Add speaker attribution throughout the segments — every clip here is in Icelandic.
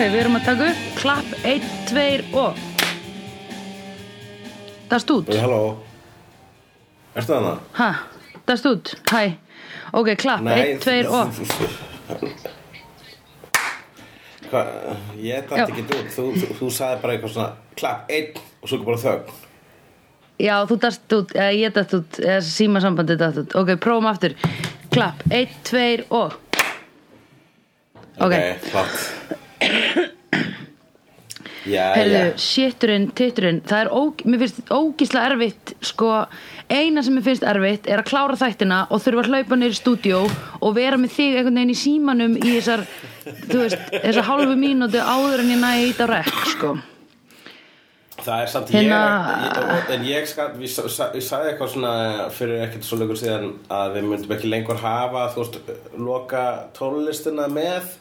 Speaker 1: við erum að taka upp Klapp, einn, tveir og Dast út
Speaker 2: Hey, halló Ertu þarna?
Speaker 1: Hæ, dast út, hæ Ok, klapp, einn, tveir og
Speaker 2: Hva,
Speaker 1: Já.
Speaker 2: Ég dætti ekki út Þú, þú, þú sagði bara eitthvað svona Klapp, einn og svo ekki bara þögn
Speaker 1: Já, þú dast út, eða ég dast út eða símasambandi dast út Ok, prófum aftur Klapp, einn, tveir og Ok.
Speaker 2: klart Já,
Speaker 1: Herðu,
Speaker 2: já
Speaker 1: shitturinn, titturinn Það er, óg, mér finnst ógísla erfitt Sko, eina sem mér finnst erfitt Er að klára þættina og þurfa að hlaupa niður í stúdíó Og vera með þig einhvern veginn í símanum Í þessar, þú veist Þessar hálfu mínútu áður en ég næ ít á rekk Sko,
Speaker 2: Það er samt
Speaker 1: Hérna-
Speaker 2: ég, ég En ég skal, við, sa- sa- ég sagði eitthvað svona eh, Fyrir ekkert svo leikur síðan Að við myndum ekki lengur hafa Þú veist, eh, loka tónlistina með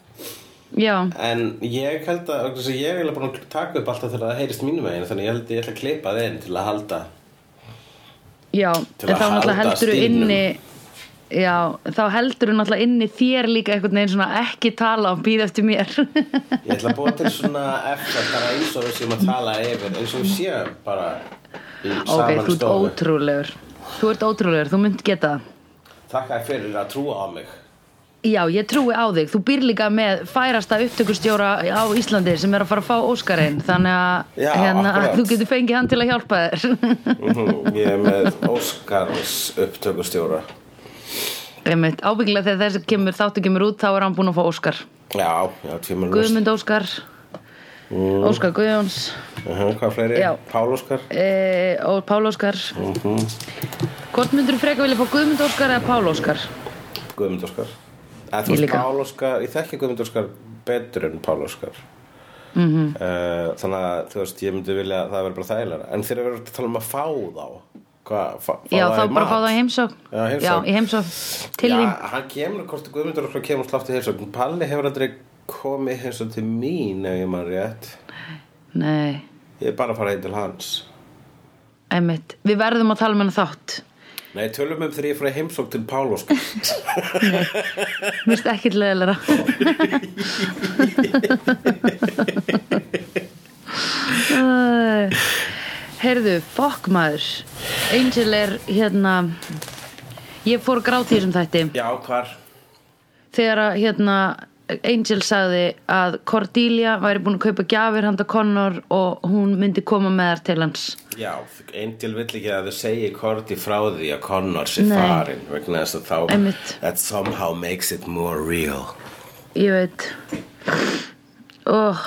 Speaker 1: já
Speaker 2: En ég held að, þess að ég er eiginlega búin að taka upp alltaf þegar það heyrist mínum megin Þannig ég held að ég ætla að klippa það inn til að halda
Speaker 1: Já,
Speaker 2: Til
Speaker 1: en
Speaker 2: að
Speaker 1: þá náttúrulega
Speaker 2: halda
Speaker 1: heldur þú
Speaker 2: stílnum.
Speaker 1: inni Já, þá heldur þú náttúrulega inni þér líka einhvern veginn svona ekki tala og býð eftir mér
Speaker 2: Ég ætla að búa til svona eftir bara eins og við séum að tala yfir Eins og við séum bara í
Speaker 1: Ok,
Speaker 2: saman
Speaker 1: þú ert
Speaker 2: stofu
Speaker 1: ótrúlegur Þú ert ótrúlegur, þú mynd geta það
Speaker 2: Takk að fyrir að trúa á mig
Speaker 1: Já, ég trúi á þig, þú býr líka með færasta upptökustjóra á Íslandi sem er að fara að fá Óskarinn þannig að,
Speaker 2: Já,
Speaker 1: hérna,
Speaker 2: akkurat.
Speaker 1: þú getur fengið hann til að hjálpa þér
Speaker 2: Mhm, Ég er með Óskars upptökustjóra
Speaker 1: Einmitt, ábyggilega þegar þessi kemur, þáttu kemur út þá er hann búin að fá Óskar
Speaker 2: Já, já, tvímur lust
Speaker 1: Guðmund Óskar,
Speaker 2: Mm.
Speaker 1: Óskar Guðjóns
Speaker 2: uh Hvað fleiri?
Speaker 1: Já.
Speaker 2: Pál Óskar
Speaker 1: e, og Pál Óskar
Speaker 2: Mhm.
Speaker 1: Hvort myndur þú freka vilja fá Guðmund Óskar eða Pál Óskar?
Speaker 2: Guðmund Óskar Eða þú
Speaker 1: Ég
Speaker 2: veist
Speaker 1: líka.
Speaker 2: Pál Óskar, ég þekki Guðmund Óskar betur en Pál Óskar
Speaker 1: Mhm.
Speaker 2: mm Þannig að þú veist, ég myndi vilja að það verður bara þægilega En þegar við erum að tala um að fá þá Hvað, fá, fá
Speaker 1: Já,
Speaker 2: það
Speaker 1: þá
Speaker 2: í
Speaker 1: bara
Speaker 2: mat?
Speaker 1: fá það í heimsókn
Speaker 2: Já, heimsókn.
Speaker 1: Já, í heimsókn til
Speaker 2: Já,
Speaker 1: þín
Speaker 2: hann kemur, hvort Guðmund Óskar kemur slátt í heimsókn Palli hefur aldrei komið heimsókn til mín ef ég maður rétt
Speaker 1: Nei,
Speaker 2: Ég er bara að fara heim til hans
Speaker 1: einmitt Við verðum að tala með hann þátt
Speaker 2: Nei, tölum um þegar ég fyrir heimsókn til Pál Óskar
Speaker 1: Mér finnst ekkert leðilega Heyrðu, fokk maður Angel er hérna Ég fór að gráta í þessum þætti
Speaker 2: Já, hvar?
Speaker 1: þegar að hérna Angel sagði að Cordelia væri búin að kaupa gjafir handa Connor og hún myndi koma með þar til hans
Speaker 2: Já, Angel vill ekki að þau segi Korti frá því að Connor sé
Speaker 1: Nei.
Speaker 2: farin vegna þess að þá
Speaker 1: Einmitt.
Speaker 2: that somehow makes it more real
Speaker 1: ég veit oh,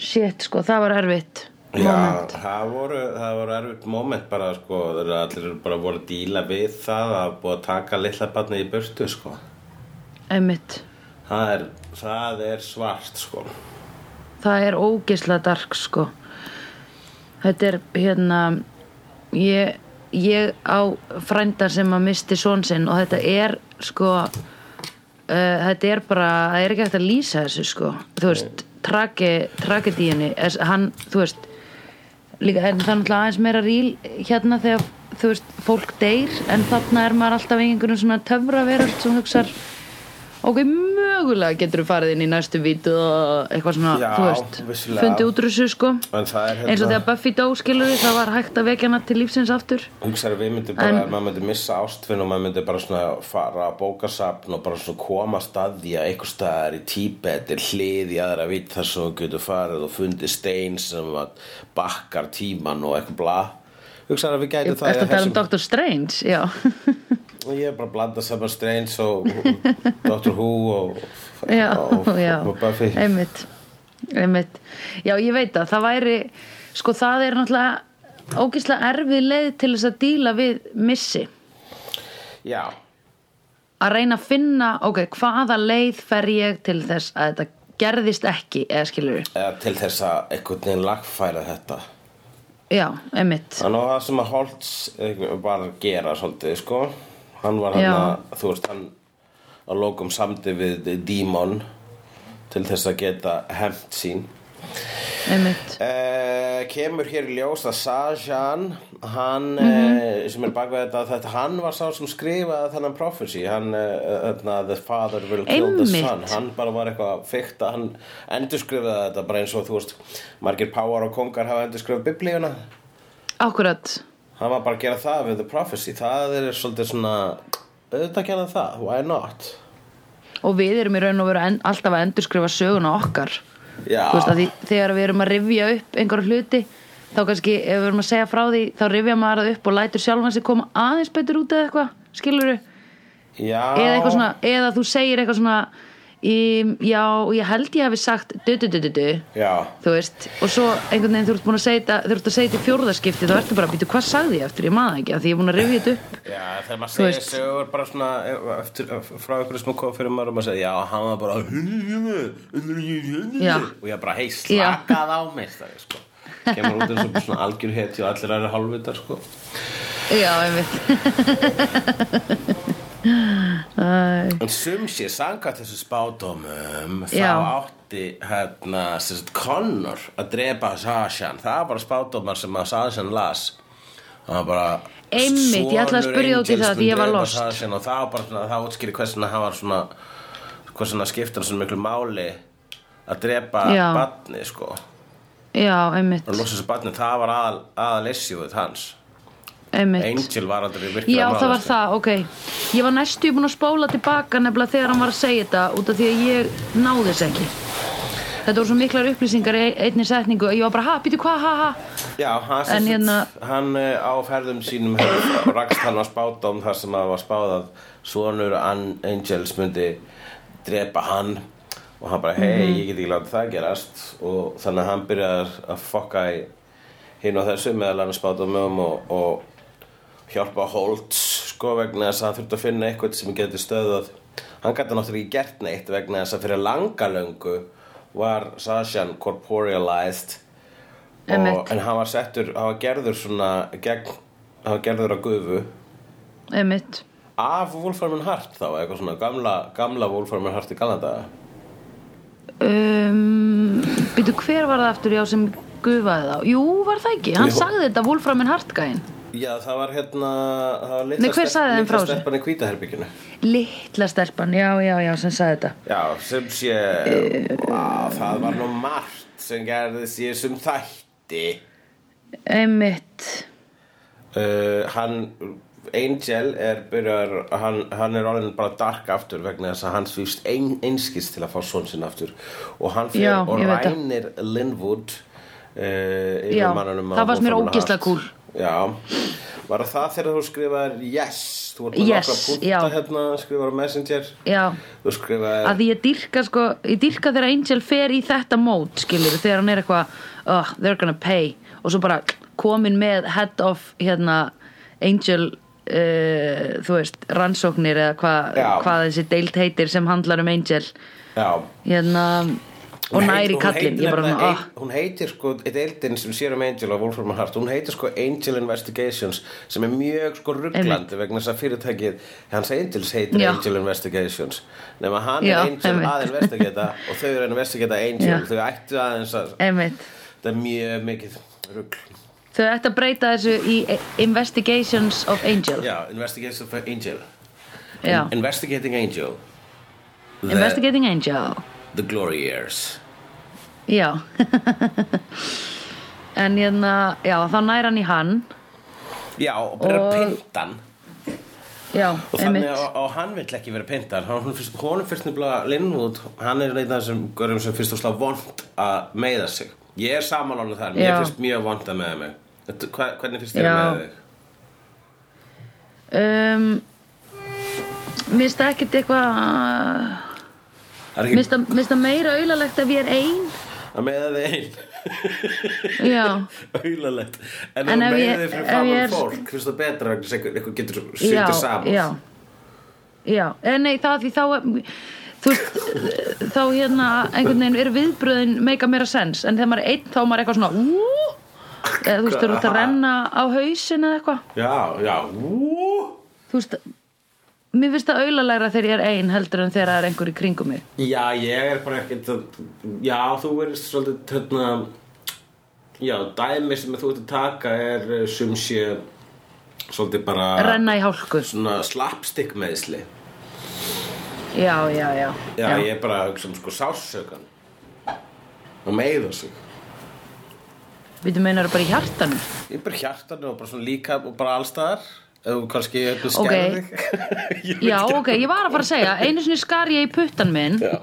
Speaker 1: shit sko, það var erfitt moment
Speaker 2: Já, það voru, það voru erfitt moment bara sko, þegar allir eru bara voru að díla við það að búa að taka litla barnið í burtu sko
Speaker 1: einmitt,
Speaker 2: Það er, það er svart sko
Speaker 1: það er ógisla dark sko þetta er hérna ég, ég á frænda sem að misti són sinn og þetta er sko uh, þetta er bara, það er ekki hægt að lýsa þessu sko, þú veist trage, tragedíunni, es- hann þú veist, líka en það er náttúrulega aðeins meira ríl hérna þegar þú veist, fólk deyr en þarna er maður alltaf í einhvern svona töfra veröld sem hugsar ok, mögulega getur þú farið inn í næstu vítu og eitthvað svona,
Speaker 2: Já,
Speaker 1: þú veist
Speaker 2: vissulega.
Speaker 1: fundið út úr þessu sko
Speaker 2: En það er
Speaker 1: eins og
Speaker 2: hérna-
Speaker 1: þegar Buffy dó skilur við það var hægt að vekja hana til lífsins aftur
Speaker 2: Hugsaðu að við myndum bara, maður myndi missa ástfinn og maður myndi bara svona fara að bókasafn og bara svona koma staði að einhver staðar í Tíbet er hlið í aðra vitt þar sem þú getur farið og fundið stein sem að bakkar tíman og eitthvað bla Hugsaðu að við gætum það
Speaker 1: eftir
Speaker 2: í
Speaker 1: að tala um Dr. Strange já,
Speaker 2: og ég er bara að blanda saman Strange og Dr. Who og,
Speaker 1: já,
Speaker 2: og,
Speaker 1: já.
Speaker 2: og Buffy
Speaker 1: einmitt, einmitt já, ég veit að það væri sko það er náttúrulega ógislega erfið leið til þess að díla við missi
Speaker 2: Já,
Speaker 1: að reyna að finna, ok, hvaða leið fer ég til þess að þetta gerðist ekki, eða skilur við
Speaker 2: eða til þess að einhvern veginn lagfæra þetta
Speaker 1: já, einmitt,
Speaker 2: Þannig að það sem að Holtz eh, var að gera svolítið, sko Hann var hann
Speaker 1: Já.
Speaker 2: að, þú veist, hann að lókum samdi við Dímon til þess að geta hefnt sín
Speaker 1: einmitt
Speaker 2: eh, uh, kemur hér í ljós að Sajan hann
Speaker 1: Mhm.
Speaker 2: uh, sem er bakveð þetta, þetta hann var sá sem skrifaði þennan prophecy hann, uh, uh, the father will kill the
Speaker 1: Einmitt.
Speaker 2: son hann bara var eitthvað fyrkt að hann endurskrifaði þetta bara eins og þú veist margir páar og kongar hafa endurskrifaði biblíuna
Speaker 1: akkurat
Speaker 2: hann var bara að gera það við the prophecy það er svolítið svona auðvitað gera það, why not
Speaker 1: og við erum í raun og veru en, alltaf að endurskrifa söguna okkar
Speaker 2: já,
Speaker 1: Þú veist, að því, þegar við erum að rifja upp einhverja hluti þá kannski ef við erum að segja frá því þá rifja maður það upp og lætur sjálfan sig koma aðeins betur út eða eitthvað, skilur
Speaker 2: já
Speaker 1: eða eitthvað svona, eða þú segir eitthvað svona um, já, ég held ég hafi sagt du du du du du
Speaker 2: já,
Speaker 1: þú veist, og svo einhvern veginn þú ert búin að segja þetta, þú ert að segja þetta í fjórðaskipti þá ertu bara að býta, hvað sagði ég eftir, ég maður það ekki af því ég er búin að rifja þetta upp
Speaker 2: Já, þegar maður
Speaker 1: Þú
Speaker 2: segir
Speaker 1: veist.
Speaker 2: sögur bara svona eh, eftir, frá ykkur sem kom fyrir maður og maður segir, já, hann var bara
Speaker 1: Já.
Speaker 2: og ég bara, hei, slakað á meistari, sko kemur út eins og bara svona algjör heti og allir aðra halvvitar, sko
Speaker 1: já, einmitt,
Speaker 2: En sum sé, sangað þessu spádómum
Speaker 1: Já.
Speaker 2: þá átti, hérna, sem sagt, Connor að drepa Sashan, það var spádómar sem að Sashan las Það var bara
Speaker 1: Einmitt, ég ætlaði að
Speaker 2: sonur
Speaker 1: spyrja út í
Speaker 2: Angels
Speaker 1: það,
Speaker 2: mun
Speaker 1: því ég var
Speaker 2: drepa
Speaker 1: lost.
Speaker 2: Sasha og það var bara svona, það útskýri hversna hann var svona hversna skiptir hann svona miklu máli að drepa
Speaker 1: Já.
Speaker 2: batni sko og
Speaker 1: já, einmitt
Speaker 2: losa þessu batni, það var aðal, aðal issue-uð hans
Speaker 1: einmitt
Speaker 2: Angel var aldrei virkilega
Speaker 1: Já, það var
Speaker 2: málaður.
Speaker 1: það, ok. Ég var næstu búin að spóla tilbaka nefnilega þegar hann var að segja þetta út af því að ég náði þess ekki. Þetta voru svo miklar upplýsingar í einni setningu að ég var bara, ha, býtu hvað, ha, ha.
Speaker 2: Já, hann,
Speaker 1: En
Speaker 2: sem
Speaker 1: hérna-
Speaker 2: sagt, hann eh, á ferðum sínum hefur- rakst hann að spáta um þar sem að var spáð að sonur An- Angels myndi drepa hann og hann bara, hei,
Speaker 1: Mhm.
Speaker 2: ég get ekki látið það gerast og þannig að hann byrjar að fokka í hinn og þessu meðal hann spáta um um og, og hjálpa Holtz sko vegna þess að hann þurfti að finna eitthvað sem getur stöðað hann gæti náttúrulega ekki gert neitt vegna þess að fyrir langalöngu var Sashan corporealized og,
Speaker 1: Einmitt.
Speaker 2: en hann var settur, hann var gerður svona gegn, hann var gerður að gufu
Speaker 1: Einmitt.
Speaker 2: af Wolframin Hart þá, eitthvað svona gamla, gamla Wolframin Hart í Kanada
Speaker 1: Um, býtu hver var það aftur já sem gufaði þá? Jú, var það ekki? Hann
Speaker 2: Jú.
Speaker 1: sagði þetta Wolframin Hartgæin.
Speaker 2: Já, það var hérna það var litla
Speaker 1: Nei, hver sagði þeim frá þessu?
Speaker 2: stelpan í hvítaherbygginu
Speaker 1: Littla stelpan, já, já, já, sem sagði þetta.
Speaker 2: Já, sem sé
Speaker 1: Eh.
Speaker 2: á, það var nú margt sem gerðist í þessum þætti
Speaker 1: Einmitt.
Speaker 2: uh, hann Angel er byrjar hann, hann er orðin bara dark aftur vegna þess að hann svífst ein, einskist til að fá svon sinna aftur og hann fyrir
Speaker 1: Já,
Speaker 2: og
Speaker 1: ég veit það.
Speaker 2: rænir Linwood uh,
Speaker 1: Já,
Speaker 2: yfirmannanum á
Speaker 1: það fannst mér
Speaker 2: Wolfram
Speaker 1: ógeðslega
Speaker 2: Hart.
Speaker 1: kúl.
Speaker 2: Já, var það þegar þú skrifar yes, þú ert með
Speaker 1: Yes,
Speaker 2: nokkra punkta
Speaker 1: já.
Speaker 2: hérna, skrifar á messenger
Speaker 1: Já.
Speaker 2: þú skrifar
Speaker 1: að því ég dyrka sko, ég dyrka þegar Angel fer í þetta mót, skilur, þegar hann er eitthvað oh, they're gonna pay og svo bara komin með head of hérna, Angel uh, þú veist, rannsóknir eða hva,
Speaker 2: Já.
Speaker 1: hvað þessi deilt heitir sem handlar um Angel
Speaker 2: já,
Speaker 1: hérna, og
Speaker 2: Hún heit-
Speaker 1: næri
Speaker 2: hún
Speaker 1: kallin
Speaker 2: heitir hérna
Speaker 1: ég bara,
Speaker 2: nefnilega
Speaker 1: svona, ah.
Speaker 2: ein- hún heitir sko, eitt eildin sem sér um Angel og Wolfram Hart, hún heitir sko Angel Investigations sem er mjög sko rugglandi vegna þess að fyrirtækið hans Angels heitir
Speaker 1: Já.
Speaker 2: Angel Investigations nema hann
Speaker 1: Já,
Speaker 2: er Angel
Speaker 1: einmitt.
Speaker 2: að investigata og þau eru að investigata Angel
Speaker 1: Já.
Speaker 2: þau ættu aðeins að
Speaker 1: ah, einmitt
Speaker 2: þetta er mjög mikið ruggl
Speaker 1: þau ætti að breyta þessu í e, Investigations of Angel
Speaker 2: já, Investigations of Angel
Speaker 1: Já.
Speaker 2: Investigating Angel The-
Speaker 1: Investigating Angel
Speaker 2: The Glory Years
Speaker 1: Já En hérna, já, þá næra hann í hann
Speaker 2: já, og bara
Speaker 1: Og-
Speaker 2: pintan
Speaker 1: Já,
Speaker 2: og, þannig,
Speaker 1: einmitt
Speaker 2: og, og hann vill ekki vera pyntar honum fyrst, honum fyrst nefnilega Linwood hann er einn af þessum görum sem fyrst og slá vond að meiða sig ég er samanlónu þar, mér
Speaker 1: Já.
Speaker 2: finnst mjög vond að meiða mig Þetta- hva, hvernig finnst þér
Speaker 1: Já.
Speaker 2: að meiða þig?
Speaker 1: um, Mér finnst það ekkert eitthvað
Speaker 2: Það er
Speaker 1: Mér
Speaker 2: ekki
Speaker 1: finnst það- mér finnst það meira auðalegt ef ég er ein
Speaker 2: að meiða þig einn
Speaker 1: Já,
Speaker 2: aulalegt en,
Speaker 1: En
Speaker 2: en
Speaker 1: ef
Speaker 2: að meiða
Speaker 1: ég-
Speaker 2: þig fyrir
Speaker 1: ef ég er-
Speaker 2: framann fólk finnst það betra vegna þess að einhver- einhver getur
Speaker 1: já,
Speaker 2: sýtið saman
Speaker 1: já Já, en nei, það því þá Þú veist, þá hérna einhvern veginn eru viðbröðin meika meira sens en þegar maður er einn þá er maður eitthvað svona ú, eða þú veist, þú eru að renna á hausin eða eitthvað
Speaker 2: já, já. Ú.
Speaker 1: þú veist mér finnst það auðalegra þegar ég er ein heldur en þegar það er einhver í kringum mig
Speaker 2: Já, ég er bara ekkert að, Já, þú verðist svolítið hérna, Já, dæmi sem þú ert að taka er eh, sum sé svolítið bara
Speaker 1: renna í hálku
Speaker 2: svona slapstick meðsli
Speaker 1: já, já, já,
Speaker 2: Já, ég er bara að hugsa um sko sásökan og meiða sig
Speaker 1: við meinar bara í hjartanum
Speaker 2: Ég er bara hjartan og bara svona líka og bara allstaðar eða kannski ég
Speaker 1: Ok.
Speaker 2: hefði skerði þig Ég veit
Speaker 1: já,
Speaker 2: ekki.
Speaker 1: ok, ég var að fara að segja einu sinni skar ég í puttan minn
Speaker 2: Já.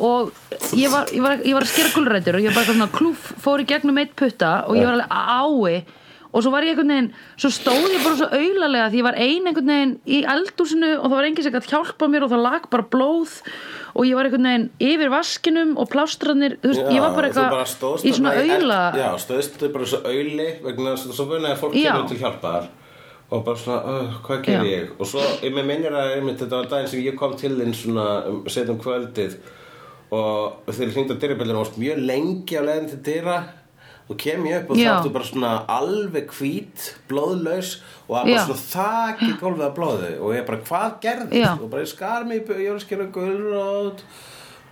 Speaker 1: og ég var, ég var, ég var að skera gulrætur og ég var bara eitthvað svona klúf fór í gegnum eitt putta og ég var alveg ái og svo var ég einhvern veginn svo stóð ég bara svo auðlalega því ég var ein einhvern veginn í eldúsinu og það var enginn sem gætt hjálpa mér og það lag bara blóð og ég var einhvern veginn yfir vaskinum og plástranir þú veist,
Speaker 2: Já,
Speaker 1: ég var bara
Speaker 2: og þú
Speaker 1: eitthvað
Speaker 2: stóðst
Speaker 1: í svona
Speaker 2: þarna
Speaker 1: auðla
Speaker 2: eld- Já, stóðst þau bara í svona auðli vegna þess að svo vunnaði fólk
Speaker 1: Já.
Speaker 2: kemur til hjálpaðar og bara svona, uh, hvað
Speaker 1: Já.
Speaker 2: gerir ég og svo, ég með minnir að einmitt, þetta var daginn sem ég kom til þinn svona um, setjum kvöldið og þegar ég hringdi á dyrabjöldinu varst mjög lengi á leiðin til dyra og kem ég upp og
Speaker 1: Já.
Speaker 2: þá áttu bara svona alveg hvít, blóðlaus og það
Speaker 1: Já.
Speaker 2: bara svona þakki gólfið að blóðu og ég bara, hvað gerði
Speaker 1: Já.
Speaker 2: og bara ég skar mig, í bu- ég var að skera gulrót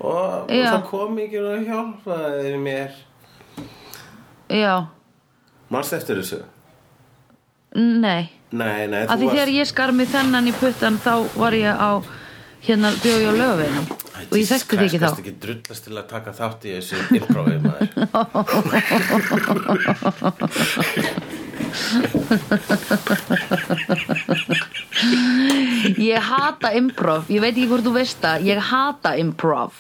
Speaker 2: og og
Speaker 1: Já.
Speaker 2: það kom ekki að hjálpaði mér
Speaker 1: já,
Speaker 2: Manst eftir þessu?
Speaker 1: nei
Speaker 2: Nei, nei,
Speaker 1: að
Speaker 2: þú
Speaker 1: því
Speaker 2: varst
Speaker 1: þegar ég skar mig þennan í puttan þá var ég á hérna bjóði á lögaveginum og ég þekkti þig ekki þá
Speaker 2: Kannski ekki drullast til að taka þátt í þessu improvið maður
Speaker 1: Ég hata improv, ég veit ekki hvort þú veist það Ég hata improv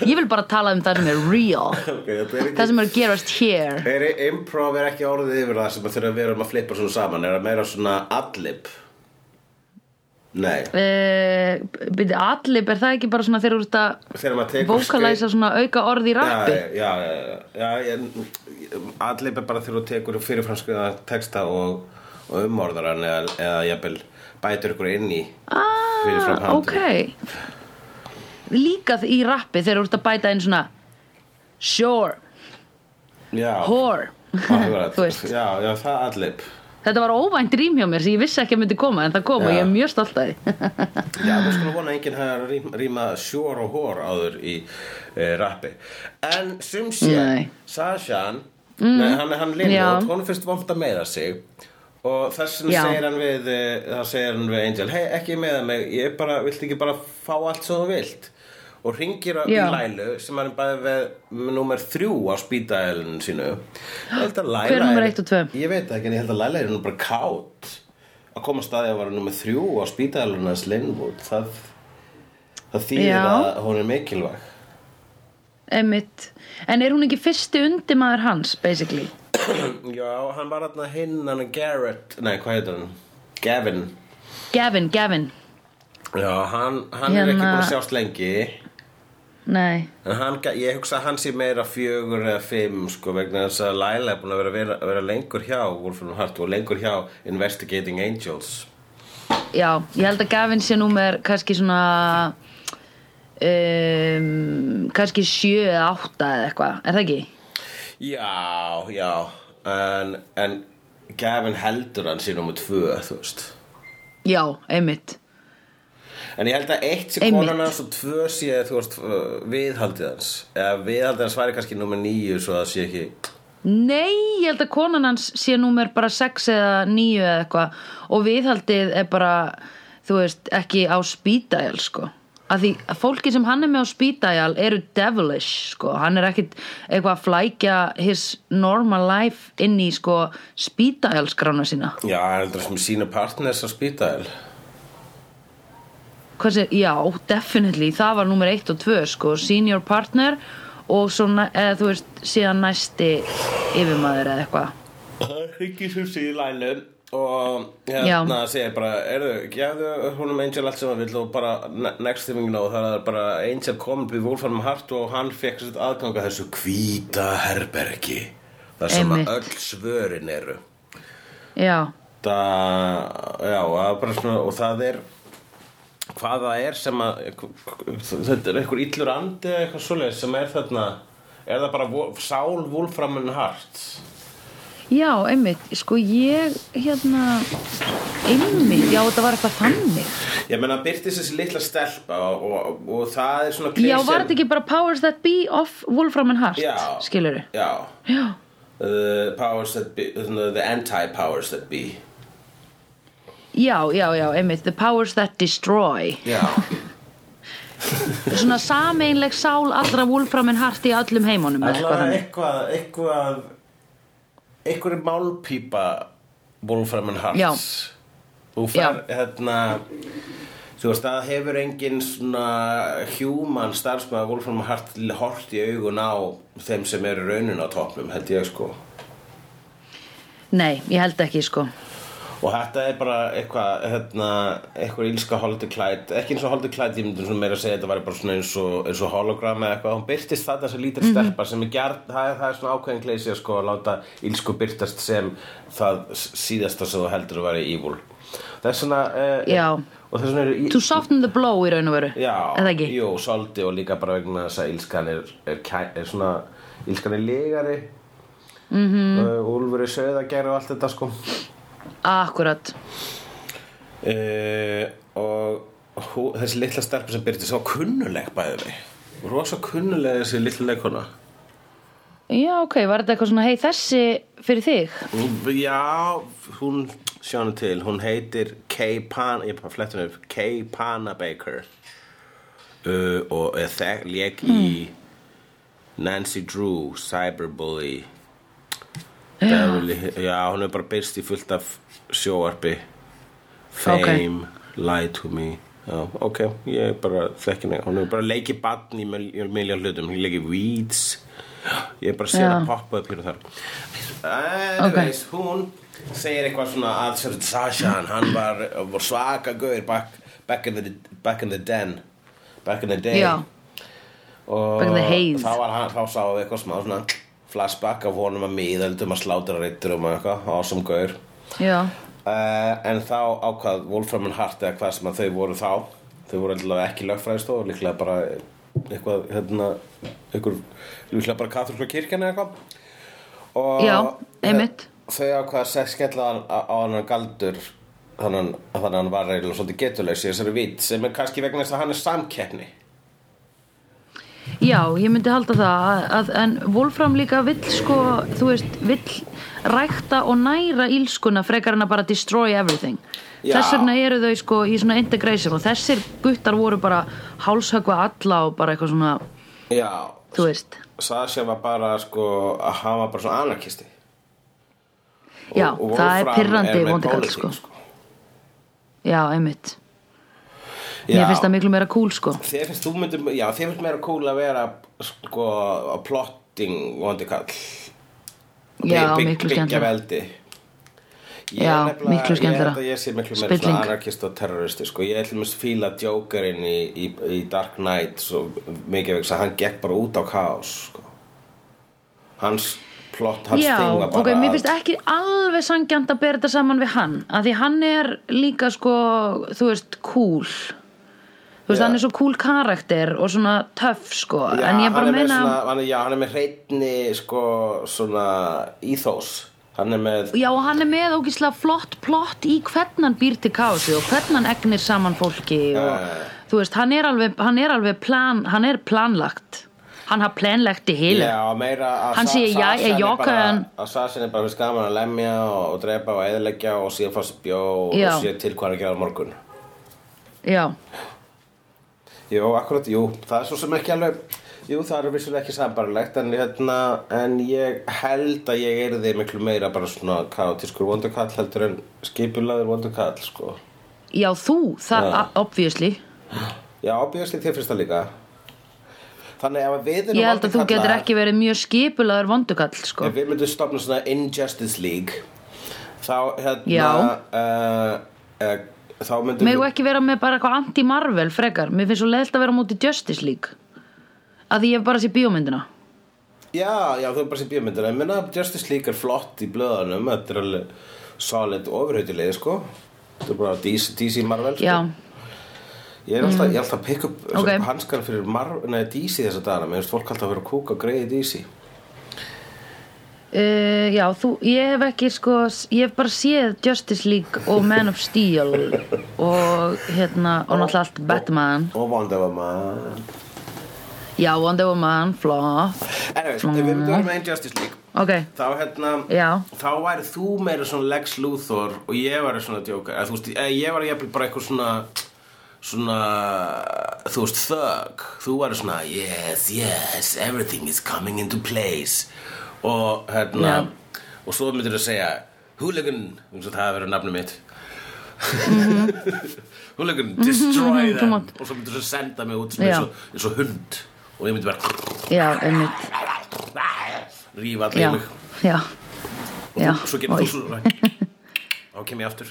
Speaker 1: Ég vil bara tala um það sem er real
Speaker 2: okay, þetta er
Speaker 1: Það
Speaker 2: ekki,
Speaker 1: sem er að gerast hér
Speaker 2: er, Improv er ekki orðið yfir það sem að þegar við erum að flippa svona saman Er það meira svona adlib? Nei,
Speaker 1: uh, Byrði, allip er það ekki bara svona þegar þú ert að
Speaker 2: þegar maður tekur
Speaker 1: Vokalæsa svona auka orð í rappi
Speaker 2: Já, já, já, já, já en Adlib er bara þegar þú tekur fyrirframskriða texta og, og umorðar hann eða, eða jafnvel bætur ykkur inn í fyrirfram
Speaker 1: ah,
Speaker 2: handrit.
Speaker 1: Ok Líka í rappi þegar þú ert að bæta inn svona Sure,
Speaker 2: Já,
Speaker 1: whore
Speaker 2: Akkurat.
Speaker 1: Þú veist.
Speaker 2: Já, já, það allip
Speaker 1: Þetta var óvænt rým hjá mér sem ég vissi ekki að myndi koma En það kom og
Speaker 2: Já.
Speaker 1: ég er mjög stolt að því
Speaker 2: Já, við skulum vona að enginn hefur rím, rýma sjór og hór áður í e, rappi En sum sé
Speaker 1: Nei.
Speaker 2: Sashan mm. nei, hann, hann
Speaker 1: Já.
Speaker 2: Linot, hún finnst vont að meða sig og þess vegna
Speaker 1: Já.
Speaker 2: segir hann við e, það segir hann við Angel hei, ekki meða mig, ég er bara, vilt ekki bara fá allt sem þú vilt og ringir í
Speaker 1: Já.
Speaker 2: Lælu sem hann er bæði við nummer þrjú á spýtaælinu sínu Ég held að Læla
Speaker 1: Hver er númer
Speaker 2: er-
Speaker 1: eitt og tvö?
Speaker 2: Ég veit það ekki, en ég held að Læla er nú bara kátt að koma að staði að vera nummer þrjú á spítalunum hans Linwood það, það þýðir
Speaker 1: Já.
Speaker 2: að hún er mikilvæg
Speaker 1: Einmitt. En er hún ekki fyrsti undimaður hans, basically?
Speaker 2: Já, hann var þarna hinn, hann er Garrett Nei, hvað heitir hann? Gavin
Speaker 1: Gavin, Gavin.
Speaker 2: Já, hann, hann er
Speaker 1: Hérna-
Speaker 2: ekki búin að sjást lengi
Speaker 1: Nei.
Speaker 2: En hann, ga- ég hugsa að hann sé meira fjögur eða fimm sko vegna þess að Laila er búin að vera, vera, vera lengur hjá Wolfram Hart og lengur hjá Investigating Angels
Speaker 1: Já, ég held að Gavin sé númer kannski svona um, kannski sjö eða átta eða eitthvað, er það ekki?
Speaker 2: Já, já En, en Gavin heldur hann sínum og tvö, þú veist
Speaker 1: Já, einmitt.
Speaker 2: En ég held að eitt sé
Speaker 1: Einmitt.
Speaker 2: konan hans og tvö sé, þú veist, uh, viðhaldið hans Eða viðhaldið hans væri kannski nummer níu svo það sé ekki
Speaker 1: Nei, ég held að konan hans sé númer bara sex eða níu eða eitthvað og viðhaldið er bara, þú veist, ekki á spýdæl, sko. Að því að fólki sem hann er með á spýdæl eru devilish, sko. Hann er ekkit eitthvað að flækja his normal life inn í, sko, spýdælskrána sína.
Speaker 2: Já, hann heldur sem sína partners að spýta þér
Speaker 1: Hvað sé, já, definitely, það var númer eitt og tvö, sko, senior partner og svo, næ- eða þú veist, síðan næsti yfirmaður eða eitthvað.
Speaker 2: Það er ekki sem sé í lælu Og hérna
Speaker 1: Já.
Speaker 2: segir bara, erðu, gefðu húnum Angel allt sem hann vill og bara ne- next thing you know Það er bara Angel kom við Wolfram Hart og hann fekk sitt aðgang að þessu hvíta herbergi Það sem
Speaker 1: Einmitt.
Speaker 2: að öll svörin eru
Speaker 1: Já,
Speaker 2: það, já, það er bara svona, og það er hvað það er sem að þetta er einhver illur andi eða eitthvað svoleiðis sem er þarna er það bara vo- sál vúlframun hart
Speaker 1: já, einmitt, sko, ég, hérna, einmitt, já, þetta var eitthvað þannig.
Speaker 2: ég meina byrtist þessi litla stelpa og, og, og það er svona
Speaker 1: Já,
Speaker 2: klisjan-
Speaker 1: var þetta ekki bara powers that be of Wolfram and Heart,
Speaker 2: Já.
Speaker 1: skilurðu?
Speaker 2: já
Speaker 1: Já,
Speaker 2: The powers that be uh, The anti-powers that be
Speaker 1: já, já, já, einmitt The powers that destroy
Speaker 2: Já,
Speaker 1: Svona sameinleg sál allra Wolfram and Hart í öllum heimunum eða eitthvað
Speaker 2: allavega
Speaker 1: þannig.
Speaker 2: eitthvað eitthvað eitthvað er málpípa Wolfram and Hearts
Speaker 1: Já.
Speaker 2: Þú fær, hérna þú veist, það hefur engin svona human starfsmaður Wolfram and Heart hort í augun á þeim sem eru raunin á topnum, held ég sko
Speaker 1: Nei, ég held ekki sko
Speaker 2: og þetta er bara eitthvað hérna, eitthvað ílska holdi klætt ekki eins og holdi klætt, ég myndi svona meira að segja þetta var bara svona eins og, eins og hologram eða eitthvað hún byrtist þetta sem
Speaker 1: Mhm.
Speaker 2: lítil stelpa sem er gert, það, er- það er svona ákveðin kleisja sko að láta ílsku byrtast sem það s- síðasta sem þú heldur að vera evil það er svona
Speaker 1: Já.
Speaker 2: og það er svona
Speaker 1: To soften the blow í raun og veru
Speaker 2: Já,
Speaker 1: Eða ekki?
Speaker 2: jú, svolítið og líka bara vegna þess að ílskan er, er, kæ- er svona, ílskan er legari mm
Speaker 1: Mhm.
Speaker 2: -hmm. uh, Úlfur er söðagerð og allt þetta sko
Speaker 1: Akkurat
Speaker 2: uh, og hú, þessi litla stelpa sem byrti svo kunnuleg bæði við rosa kunnuleg þessi litla leikona
Speaker 1: Já, ok, var þetta eitthvað svona, hei, þessi fyrir þig?
Speaker 2: Hún- já, hún sjánu til hún heitir Kay Pan ég bara flettur henni upp, Kay Panabaker uh, og er þekk lék í Nancy Drew, Cyberbully Beverly, já, hún er bara byrst í fullt af sjóarpi Fame, Lie to Me Já, ok, ég er bara þekkin ekki Hún er bara leikið barn í miljón hlutum Hún leikið Weeds Ég er bara sér
Speaker 1: Já.
Speaker 2: að poppa upp hér og þar Anyways, hún segir eitthvað svona að sér Sashan, hann var, var svaka gaur back, back, in the, back in the den Back in the day
Speaker 1: Já,
Speaker 2: og
Speaker 1: Back in the haze.
Speaker 2: þá, var hann, þá sáum við eitthvað smá svona flashback af honum að miðöldum að slátra reytur um eitthvað, ásum gaur
Speaker 1: já,
Speaker 2: uh, en þá ákvað Wolfram and Hart eða hvað sem að þau voru þá þau voru allavega ekki lögfræðistof líklega bara eitthvað hérna, ykkur, líklega bara katholska kirkjan eða eitthvað og eh,
Speaker 1: Já, einmitt.
Speaker 2: þau ákvað að sex skella á- á hann galdur þannig að þannig að hann var reyðilega svolítið getulegs í þessari vít sem er kannski vegna þess að hann er samkeppni
Speaker 1: já, ég myndi halda það að, að, en Wolfram líka vill sko, þú veist, vill rækta og næra ílskuna frekar en að bara destroy everything
Speaker 2: Já.
Speaker 1: Þess vegna eru þau sko í svona integration og þessir guttar voru bara hálshöggva alla og bara eitthvað svona,
Speaker 2: já,
Speaker 1: þú veist
Speaker 2: Sasha var bara sko að hann var bara svona anarkisti
Speaker 1: Já,
Speaker 2: Og- og
Speaker 1: það er
Speaker 2: Wolfram
Speaker 1: pirrandi
Speaker 2: með
Speaker 1: vondi kall
Speaker 2: pólitík,
Speaker 1: sko Já, einmitt Mér
Speaker 2: Já.
Speaker 1: finnst það miklu meira cool sko
Speaker 2: Þér finnst þú myndum, já, þér finnst meira cool að vera sko að plotting vondi kall
Speaker 1: Já,
Speaker 2: Bygg-
Speaker 1: miklu
Speaker 2: Byggja
Speaker 1: skemmtilega
Speaker 2: veldi Ég
Speaker 1: Já,
Speaker 2: er nefnilega-
Speaker 1: miklu skemmtilegra.
Speaker 2: Ég held að ég sé miklu meira
Speaker 1: Spilling.
Speaker 2: svona anarkist og terroristi sko. Ég ætlum að fíla Jokerinn í, í, í Dark Knight svo mikið vegna að hann gekk bara út á kaos sko. Hans plott, hans
Speaker 1: Já,
Speaker 2: stinga bara
Speaker 1: ok, mér
Speaker 2: að-
Speaker 1: finnst ekki alveg sangjant að bera þetta saman við hann að því hann er líka sko þú veist, cool þú veist,
Speaker 2: Já.
Speaker 1: hann er svo cool karakter og svona töff sko en ég bara
Speaker 2: hann er með
Speaker 1: meina
Speaker 2: svona, hann, er- Já, hann er með hreitni sko, svona íþós Hann er með
Speaker 1: Já, og hann er með ógislega flott plott í hvern hann býr til kási og hvern hann egnir saman fólki og
Speaker 2: já, já.
Speaker 1: þú veist, hann er alveg, hann er alveg plan, hann er planlagt hann har planlagt í heilu
Speaker 2: Já, meira að
Speaker 1: Hann
Speaker 2: Sa-
Speaker 1: segir, já,
Speaker 2: Sasan
Speaker 1: ég
Speaker 2: er
Speaker 1: jóka
Speaker 2: bara-
Speaker 1: hann.
Speaker 2: Að Sasin er bara fyrst gaman að lemja og, og drepa og eðileggja og síðan fá sér bjó
Speaker 1: Já.
Speaker 2: og síðan til hvað hann að gera á morgun
Speaker 1: Já,
Speaker 2: Jú, akkurat, jú, það er svo sem ekki alveg Jú, það er vissulega ekki sambarlegt en, hérna, en ég held að ég er þið miklu meira bara svona kaotískur vondukall heldur en skipulaður vondukall, sko
Speaker 1: já þú, það,
Speaker 2: Já.
Speaker 1: obviously
Speaker 2: Já, ábjöðsli þér fyrsta líka Þannig ef að við erum
Speaker 1: Ég held að þú
Speaker 2: vondir
Speaker 1: getur
Speaker 2: kallar-
Speaker 1: ekki verið mjög skipulaður vondukall, sko
Speaker 2: Ef við myndum stopna svona Injustice League Þá hérna
Speaker 1: Já.
Speaker 2: uh, uh, Þá myndum
Speaker 1: Megu ekki vera með bara eitthvað anti-Marvel frekar Mér finnst svo leiðilt að vera á móti Justice League Að því ég hef bara sé bíómyndina
Speaker 2: Já, já, þú er bara sem bíómyndir Ég menna Justice League er flott í blöðunum Þetta er alveg solid ofurhautilegi sko Þetta er bara DC, DC Marvel sko.
Speaker 1: Já, Mm.
Speaker 2: Ég er alltaf, ég er alltaf að pikka upp
Speaker 1: Ok.
Speaker 2: okay. hanskar fyrir Marvel, nei, DC þessa dagana Mér finnst fólk alltaf að vera að kúka og greiði DC
Speaker 1: uh, já þú, ég hef ekki sko Ég hef bara séð Justice League og Man of Steel Og hérna, og náttúrulega allt Batman
Speaker 2: Og Wonder Woman
Speaker 1: Já, Wonder Woman, flott
Speaker 2: Anyways, ef við
Speaker 1: Mm.
Speaker 2: myndum vera með einn Justice League
Speaker 1: Ok,
Speaker 2: þá hérna
Speaker 1: Já.
Speaker 2: þá væri þú meira svona Lex Luthor og ég væri svona djókar eða, þú veist, eða ég væri jafnvel bara eitthvað svona svona þú veist thug þú væri svona yes yes everything is coming into place og hérna og svo myndir þú segja hooligan eins og það hefur verið nafnum mitt hooligan destroy
Speaker 1: Mhm. Come
Speaker 2: them
Speaker 1: on.
Speaker 2: og svo myndir þú senda mig út svona
Speaker 1: Já.
Speaker 2: eins og, eins og hund og ég myndi bara
Speaker 1: já, einmitt
Speaker 2: rífa allir
Speaker 1: Já,
Speaker 2: mig
Speaker 1: já, já
Speaker 2: og svo gerir
Speaker 1: Oj.
Speaker 2: þú svo þá kem ég aftur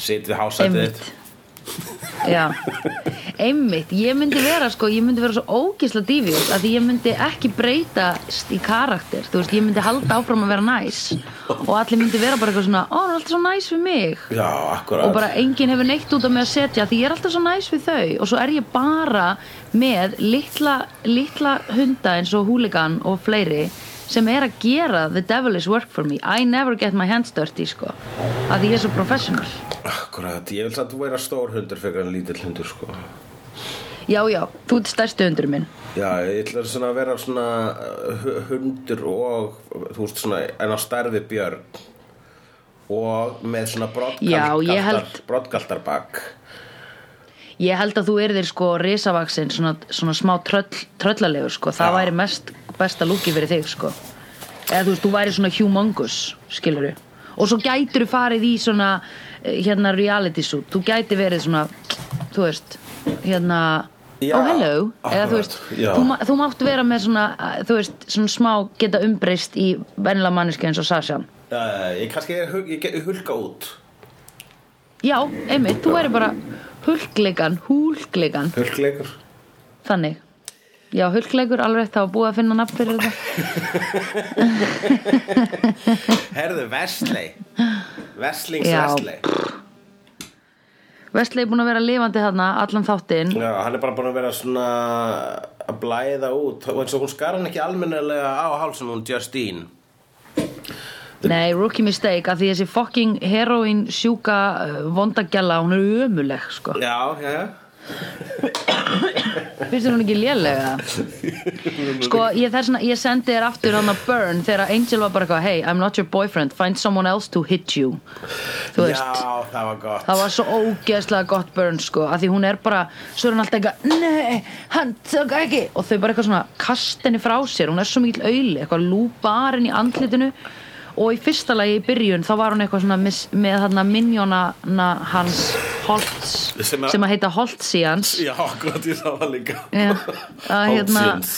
Speaker 2: sit við hásætið
Speaker 1: Einmitt.
Speaker 2: þitt
Speaker 1: Já, einmitt, ég myndi vera sko, ég myndi vera svo ógisla dífjus að því ég myndi ekki breytast í karakter, þú veist, ég myndi halda áfram að vera næs og allir myndi vera bara eitthvað svona, ó, það er alltaf svo næs við mig
Speaker 2: já, akkurat
Speaker 1: og bara enginn hefur neitt út af mig að setja því ég er alltaf svo næs við þau og svo er ég bara með litla, litla hunda eins og húligan og fleiri sem er að gera the devil is work for me I never get my hands dirty sko að því ég er svo professional
Speaker 2: akkurat, ég vil satt að vera stór hundur fyrir en lítill hundur sko
Speaker 1: já já, þú ert stærsti hundur minn
Speaker 2: já, ég ætla svona að vera svona uh, hu- hundur og þú veist svona, en á stærði björn og með svona
Speaker 1: Já, ég
Speaker 2: brottgaltar
Speaker 1: held-
Speaker 2: brottgaltarbak
Speaker 1: ég held að þú erðir sko risavaksin svona, svona smá tröll, tröllalegur sko það
Speaker 2: Já.
Speaker 1: væri mest besta lúki fyrir þig sko eða þú veist, þú væri svona humongous skilur og svo gætur þú farið í svona eh, hérna reality suit þú gæti verið svona, þú veist hérna,
Speaker 2: Já,
Speaker 1: oh hello eða
Speaker 2: akkurat,
Speaker 1: þú veist,
Speaker 2: já.
Speaker 1: þú, ma- þú mátt vera með svona, eh, þú veist, svona smá geta umbreyst í vennilega manneski eins og Sasha
Speaker 2: já, ég kannski ég, hul- ég, ég hulka út
Speaker 1: já, einmitt, þú væri bara hulklegan, húlklegan
Speaker 2: hulkleikur
Speaker 1: Þannig Já, hulkleikur alveg þá búið að finna nafn fyrir þetta
Speaker 2: herðu, Vestley Vestlings
Speaker 1: Já.
Speaker 2: Vestley
Speaker 1: Vestlei er búin að vera lifandi þarna allan þáttinn
Speaker 2: Já, hann er bara búin að vera svona að blæða út og eins og hún skar hann ekki almennilega á hálsum hún Justine
Speaker 1: Nei, rookie mistake að því þessi fucking heroin sjúka vondagjalla, hún er ömuleg sko.
Speaker 2: Já, já, já
Speaker 1: Finnst þér hún ekki lélega? Sko, ég, það er svona, ég sendi þér aftur hann að Burn þegar Angel var bara eitthvað Hey, I'm not your boyfriend, find someone else to hit you Þú veist
Speaker 2: Já, það var gott
Speaker 1: Það var svo ógeðslega gott Burn sko að því hún er bara, svo er hún alltaf eitthvað Nei, hann tök ekki og þau bara eitthvað svona kast henni frá sér hún er svo mikil auðli, eitthvað lúbarinn í andlitinu og í fyrsta lagi í byrjun þá var hún eitthvað svona mis, með þarna minjónana hans Holtz, sem
Speaker 2: Sem að-
Speaker 1: að, heita Holtzians
Speaker 2: Já, gott, ég sá það líka
Speaker 1: Já, að hérna
Speaker 2: Holtzians.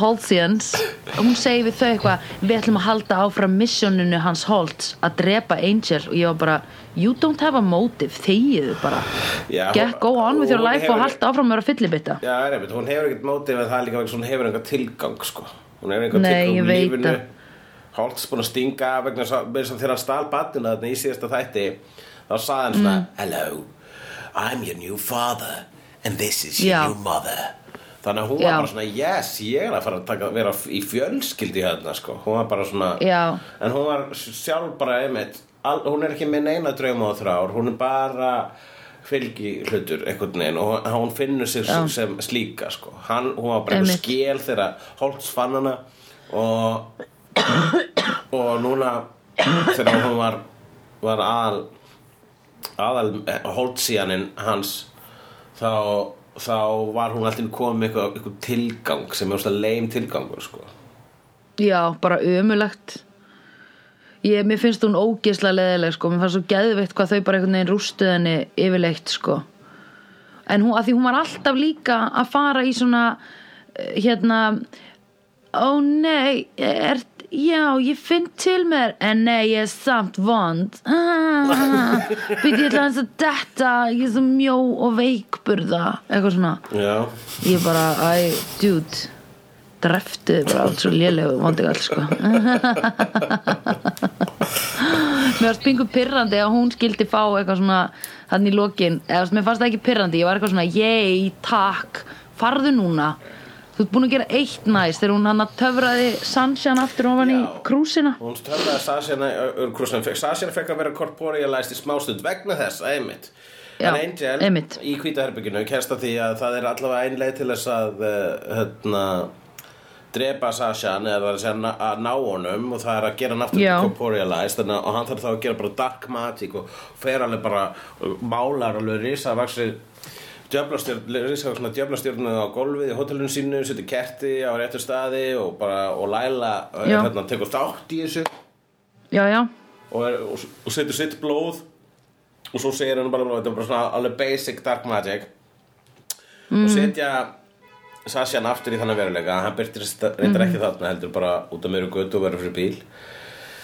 Speaker 1: Holtzians hún segi við þau eitthvað við ætlum að halda áfram missioninu hans Holtz að drepa Angel og ég var bara you don't have a motive, þegiðu bara
Speaker 2: Já,
Speaker 1: get go on with your
Speaker 2: hún
Speaker 1: life
Speaker 2: hefur-
Speaker 1: og halda áfram með að fyllibitta
Speaker 2: Já, er einmitt, hún hefur ekkert mótið með það líka vegna þess að hún hefur einhver tilgang, sko Hún hefur einhver
Speaker 1: Nei, ég
Speaker 2: tilgang í
Speaker 1: veit
Speaker 2: lífinu
Speaker 1: það.
Speaker 2: Holtz búin að stinga af vegna þess að- meira sem þegar hann stal batnuna þarna í síðasta þætti þá sagði hann
Speaker 1: Mm.
Speaker 2: svona Hello, I'm your new father and this is your
Speaker 1: Já.
Speaker 2: new mother Þannig að hún var
Speaker 1: Já.
Speaker 2: bara svona, yes, ég er að fara að taka, vera í fjölskyldi hérna, sko. Hún var bara svona,
Speaker 1: Já.
Speaker 2: en hún var sjálf bara, einmitt, all, hún er ekki með neina drauma og þrár, hún er bara fylgi hlutur einhvern veginn og hún- hún finnur sér sem, sem slíka, sko. Hann, hún var bara einhver
Speaker 1: Einmitt.
Speaker 2: skél þegar Holtz fann hana og, og núna þegar hún var, var aðal aðal holdsíjaninn hans þá, þá var hún alltaf komið með eitthvað, eitthvað tilgang sem er óslega leim tilgangur sko.
Speaker 1: Já, bara ömulegt ég, Mér finnst hún ógeðslega leðileg sko. Mér fannst svo geðveikt hvað þau bara einhvern veginn rústuð henni yfirleitt sko. En hún, að því hún var alltaf líka að fara í svona eh, hérna Ó nei, er, já, ég finn til mér En nei, ég er samt vond ah, Býtti ég ætla hans að detta Ég er svo mjó og veikburða Eitthvað svona
Speaker 2: Já,
Speaker 1: ég bara, æ, dude dreftu þið bara allt svo lélegu vondegall sko mér varst pingu pirrandi að hún skildi fá eitthvað svona þannig í lokin, eða þú veist, mér fannst það ekki pirrandi ég var eitthvað svona, yey, takk farðu núna, þú ert búin að gera eitt næst þegar hún hann að töfraði Sansjan aftur ofan í
Speaker 2: Já.
Speaker 1: krúsina
Speaker 2: hún törnaði Sasjana Sasjana fekk að vera korporealæst í smástund vegna þess, einmitt
Speaker 1: Já,
Speaker 2: en Angel
Speaker 1: einmitt.
Speaker 2: í kvítaherbygginu kæsta því að það er allavega einlega til þess að eh, hérna, drepa Sashan eða það er að, segja, að ná honum og það er að gera hann aftur
Speaker 1: Já.
Speaker 2: corporealized þannig, að- og hann þarf þá að gera bara dark magic og fer alveg bara og málar alveg risavaxi djöflastjörn djöflastjörnu á gólfið í hótelun sínu, setur kerti á réttu staði og bara, og Laila eh,
Speaker 1: Já.
Speaker 2: hérna, tekur þátt í þessu
Speaker 1: já, já,
Speaker 2: og, er, og, og setur sitt blóð og svo segir hann bara, bara þetta er bara svona alveg basic dark magic og setja Sasjan aftur í þannig veruleika hann byrtist reyndar ekki þarna heldur bara út af mjög götu og verður fyrir bíl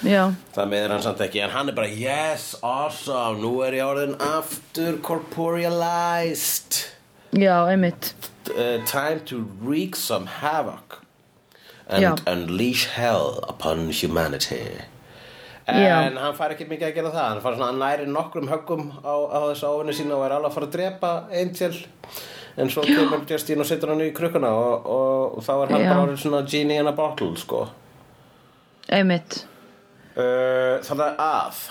Speaker 1: já
Speaker 2: það meður hann samt ekki en hann er bara yes, awesome, nú er ég orðin aftur corporealized
Speaker 1: já, einmitt
Speaker 2: uh, time to wreak some havoc and
Speaker 1: Já.
Speaker 2: unleash hell upon humanity en
Speaker 1: Já.
Speaker 2: hann fær ekki mikið að gera það hann, fær svona, hann læri nokkrum höggum á, á þessu ávinni sína og er alveg að fara að drepa Angel en svo kemur Justine og setur hann í krukkuna og, og, og þá er hann
Speaker 1: Já.
Speaker 2: bara orðinn svona genie in a bottle sko
Speaker 1: einmitt,
Speaker 2: uh, þannig að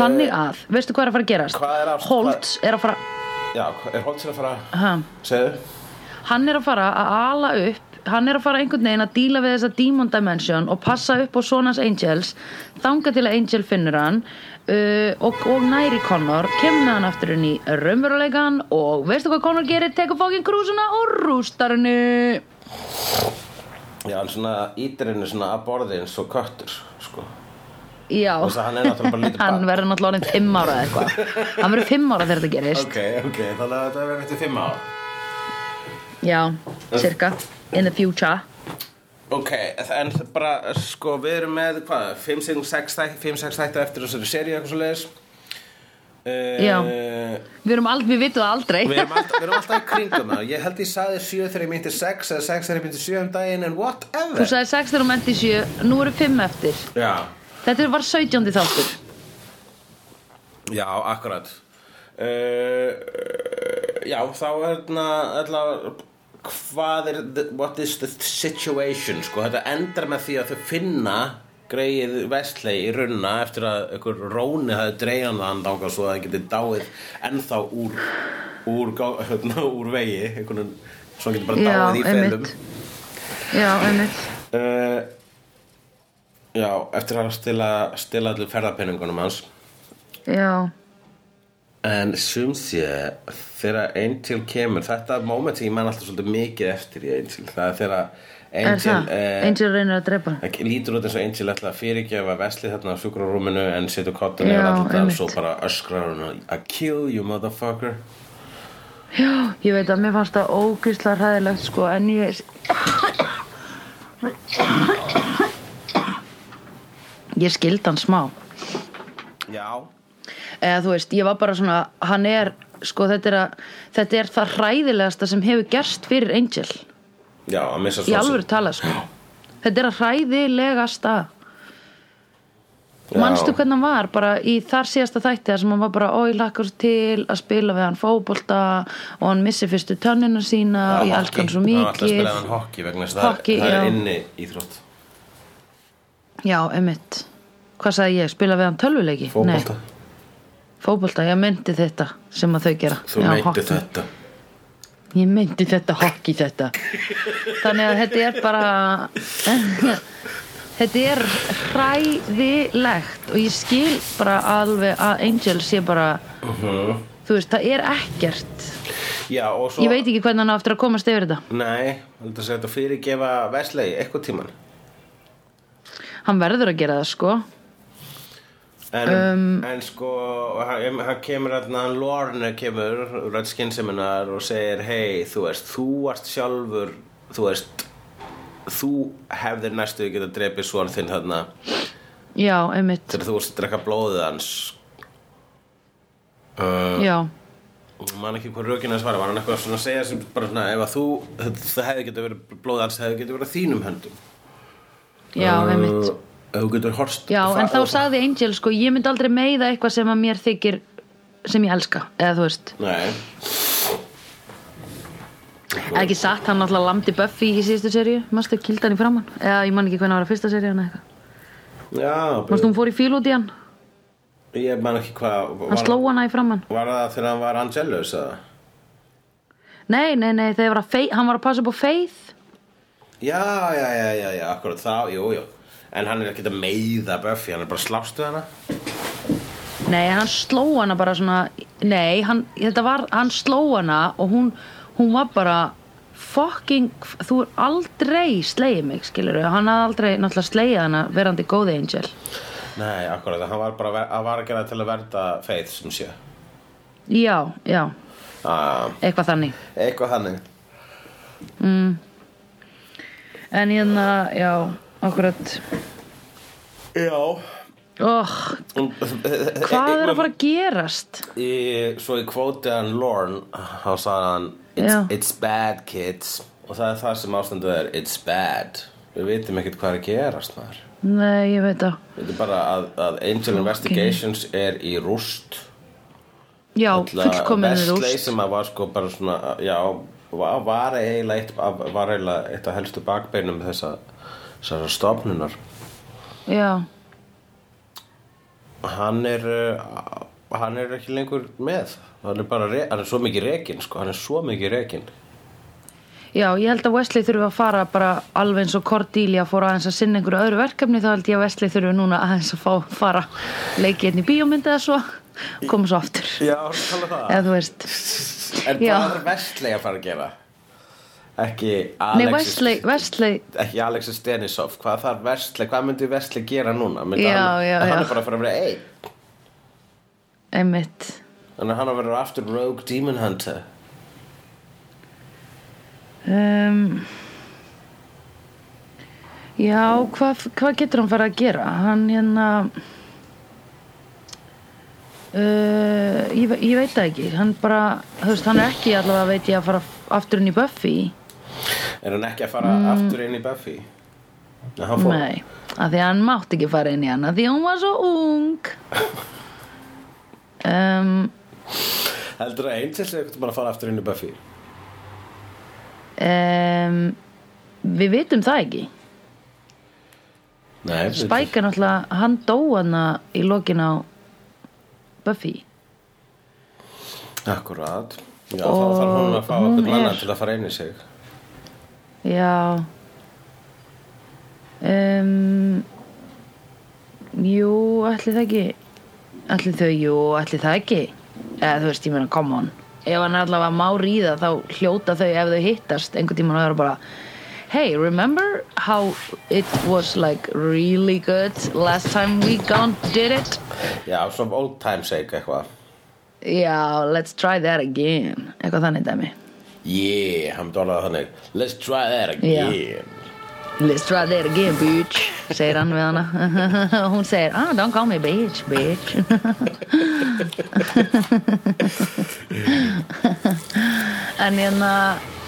Speaker 1: þannig að veistu hvað er að fara að gerast?
Speaker 2: Eh, Hvað er að-
Speaker 1: Holtz er að fara
Speaker 2: já, er hótt sér að fara
Speaker 1: ha,
Speaker 2: segðu
Speaker 1: hann er að fara að ala upp hann er að fara einhvern veginn að díla við þessa Demon Dimension og passa upp á sonans Angels þanga til að Angel finnur hann uh, og, og næri Connor kemur með hann aftur inn í raunveruleikan og veistu hvað Connor gerir? tekur fókin krúsuna og rústar henni
Speaker 2: já, hann svona ítir henni svona að borði eins og köttur sko
Speaker 1: já,
Speaker 2: Og þess að hann er náttúrulega bara lítið barn.
Speaker 1: hann verður náttúrulega orðinn fimm ára eða eitthvað hann verður fimm ára þegar þetta gerist
Speaker 2: Ok, ok, þannig að þetta verður eftir fimm ára
Speaker 1: Já, cirka In the future
Speaker 2: Ok, en bara, sko, við erum með, hvað, 5-6 þætti eftir þessari seri eitthvað svo leiðis
Speaker 1: Já.
Speaker 2: Við
Speaker 1: Við erum aldrei, við vitum það aldrei
Speaker 2: erum alltaf, við erum alltaf í kringum það Ég held ég saði 7 þegar ég myndi 6 eða 6 þegar ég myndi 7 um daginn en
Speaker 1: Þú
Speaker 2: whatever
Speaker 1: sagði 6 þegar hún menti 7 Nú eru 5 eftir
Speaker 2: Já,
Speaker 1: Þetta var 17. þáttur
Speaker 2: já, akkurat uh, Já, þá er þarna, allavega hvað er, the- what is the situation, sko, þetta endar með því að þau finna greið vestlei í runna eftir að einhver róni hafði dreigjað hann þangað svo að hann geti dáið ennþá úr úr, gá- hérna, úr vegi einhvern, svo hann geti bara
Speaker 1: Já,
Speaker 2: dáið í felum
Speaker 1: einmitt. Já, einmitt
Speaker 2: uh, Eh, Já, eftir að stila, stila allir ferðarpenningunum hans
Speaker 1: Já,
Speaker 2: En sumsé, þegar Angel kemur, þetta moment sem ég menn alltaf svolítið mikið eftir í Angel, það er þegar
Speaker 1: er
Speaker 2: Angel, eh,
Speaker 1: það? Angel reynir að drepa hann.
Speaker 2: það lítur út eins og Angel ætla að fyrirgefa veslið þarna á sjúkrarúminu en setur kottinu
Speaker 1: Já,
Speaker 2: yfir alltaf það og
Speaker 1: einmitt.
Speaker 2: svo bara öskrar hún að kill you motherfucker.
Speaker 1: Já, ég veit að mér fannst það ógísla hræðilegt sko En ég Ég skildi hann smá
Speaker 2: Já.
Speaker 1: eða þú veist, ég var bara svona hann er, sko þetta er að þetta er það hræðilegasta sem hefur gerst fyrir Angel,
Speaker 2: Já, að missa
Speaker 1: í
Speaker 2: svo
Speaker 1: alvöru tala sko. þetta er að hræðilegasta manstu hvernig hann var, bara í þar síðasta þætti þar sem hann var bara, ó ég lakkar til að spila við hann fótbolta og hann missi fyrstu tönnina sína og ég elka hann svo
Speaker 2: Það er alltaf að
Speaker 1: mikið
Speaker 2: spila hann hockey vegna þess að
Speaker 1: Hockey,
Speaker 2: það er, það
Speaker 1: já.
Speaker 2: er inni íþrótt.
Speaker 1: já, emitt, hvað sagði ég spila við hann tölvuleiki?
Speaker 2: Fótbolta.
Speaker 1: Nei, fótbolta, ég myndi þetta sem að þau gera
Speaker 2: Þú
Speaker 1: Já,
Speaker 2: meinti
Speaker 1: hockey.
Speaker 2: þetta.
Speaker 1: Ég myndi þetta, hokki þetta Þannig að þetta er bara Þetta er hræðilegt og ég skil bara alveg að Angel sé bara Þú veist, það er ekkert
Speaker 2: Já, og svo...
Speaker 1: Ég veit ekki hvernig hann á eftir að komast yfir þetta
Speaker 2: Nei, heldur að segja þetta fyrirgefa veslið eitthvað tíman.
Speaker 1: Hann verður að gera það, sko
Speaker 2: En,
Speaker 1: Um,
Speaker 2: en sko, hann, hann kemur hérna, hann Lorne kemur, Redskin seminar og segir, hei, þú veist, þú varst sjálfur, þú veist, þú hefðir næstu við geta drepið svona þinn þarna
Speaker 1: Já, einmitt,
Speaker 2: þegar þú varst að drekka blóðið hans. Uh,
Speaker 1: já
Speaker 2: man ekki hvað rökin hans var, var hann eitthvað svona að segja sem bara svona, ef að þú, það hefði geta verið, blóðið hans hefði geta verið á þínum höndum.
Speaker 1: Já, einmitt
Speaker 2: Uh, ef þú getur horst.
Speaker 1: Já, en þá sagði Angel, sko, ég myndi aldrei meiða eitthvað sem að mér þykir sem ég elska, eða þú veist
Speaker 2: Nei.
Speaker 1: Eða ekki satt, hann alltaf lamdi Buffy í síðustu seríu, mástu kildi hann í framann eða ég man ekki hvernig það var að fyrsta seríu hann eitthvað
Speaker 2: Já,
Speaker 1: mástu hún fór í fíl út í hann
Speaker 2: Já, Ég man ekki hvað
Speaker 1: hann sló hana í framann
Speaker 2: Var það þegar hann var Angelus eða?
Speaker 1: nei, nei, nei, þegar var að fei, hann var að passa upp á Faith
Speaker 2: Já, já, já, já, já, akkurat þá, jú, jú En hann er ekki að meiða Buffy, hann er bara að slást við hana
Speaker 1: nei, hann sló hana bara svona nei, hann, þetta var, hann sló hana og hún, hún var bara fucking, þú er aldrei slegið mig, skilur hann hafði aldrei náttúrulega slegið hana verandi góð angel
Speaker 2: Nei, akkurat, hann var bara að ver- hann var að gera það til að verða Faith sem sé
Speaker 1: já, já,
Speaker 2: ah,
Speaker 1: eitthvað þannig
Speaker 2: Eitthvað hannig
Speaker 1: en hérna, já, akkurat
Speaker 2: Já
Speaker 1: oh, hvað er að fara að gerast
Speaker 2: í, svo ég kvóti hann Lorne þá sagði hann
Speaker 1: Já.
Speaker 2: it's, it's bad kids og það er það sem ástandu er it's bad við vitum ekkert hvað er að gerast maður
Speaker 1: nei, ég veit það
Speaker 2: við vitum bara að, að Angel Investigations er í rúst
Speaker 1: já, fullkominni
Speaker 2: Vestley
Speaker 1: rúst
Speaker 2: sem að var sko bara svona já, var, var eiginlega eitt, var eiginlega eitt af helstu bakbeinum þessa, þessara stofnunar
Speaker 1: já,
Speaker 2: hann er uh, hann er ekki lengur með hann er bara, re- hann er svo mikið rekin sko, hann er svo mikið rekin
Speaker 1: Já, ég held að Wesley þurfi að fara bara alveg eins og Cordelia fór aðeins að sinna einhverju öðru verkefni þá held ég að Wesley þurfi núna aðeins að fá, fara leikið inn í bíómynd eða svo koma svo aftur
Speaker 2: Já, hann tala það
Speaker 1: eða þú veist
Speaker 2: En
Speaker 1: Já.
Speaker 2: hvað er Vestley að fara að gera? Ekki
Speaker 1: Nei,
Speaker 2: Alexis
Speaker 1: Wesley, Wesley
Speaker 2: Ekki Alexis Denisov Hvað þarf Vestley, hvað myndi Vestley gera núna? Myndi
Speaker 1: Já,
Speaker 2: hann,
Speaker 1: já,
Speaker 2: Hann
Speaker 1: já.
Speaker 2: er bara að fara að vera einn
Speaker 1: einmitt
Speaker 2: Þannig að hann að vera aftur Rogue Demon Hunter
Speaker 1: um, Já, hvað hva getur hann fara að gera? Hann hérna Uh, ég, ve- ég veit það ekki hann bara, þú veist, hann er ekki allavega veit ég að fara aftur inn í Buffy
Speaker 2: Er hann ekki að fara aftur inn í Buffy? Nei, hann fór
Speaker 1: Mm. Nei, af því að hann mátti ekki fara inn í hana því að hún var svo ung um,
Speaker 2: Heldur að Angel er eitthvað að fara aftur inn í Buffy?
Speaker 1: um, Við vitum það ekki
Speaker 2: Nei, við-
Speaker 1: Spike er náttúrulega, hann dó hana í lokin á Buffy
Speaker 2: Akkurat Já,
Speaker 1: Og
Speaker 2: þá þarf hún að fá
Speaker 1: hún er-
Speaker 2: einhvern annan til að fara inn í sig
Speaker 1: Já um, Jú, ætli það ekki Ætli þau, jú, ætli það ekki Eða þú veist, ég meina, come on Ef hann allavega má ríða þá hljóta þau ef þau hittast einhvern tímann og það eru bara Hey, remember how it was like really good last time we gone did it?
Speaker 2: Já, svona old time sake eitthvað
Speaker 1: Já, let's try that again Eitthvað þannig dæmi
Speaker 2: Yeah, hann dólaði þannig Let's try that again
Speaker 1: Let's try that again, bitch segir hann við hana og hún segir, ah, don't call me bitch, bitch en hérna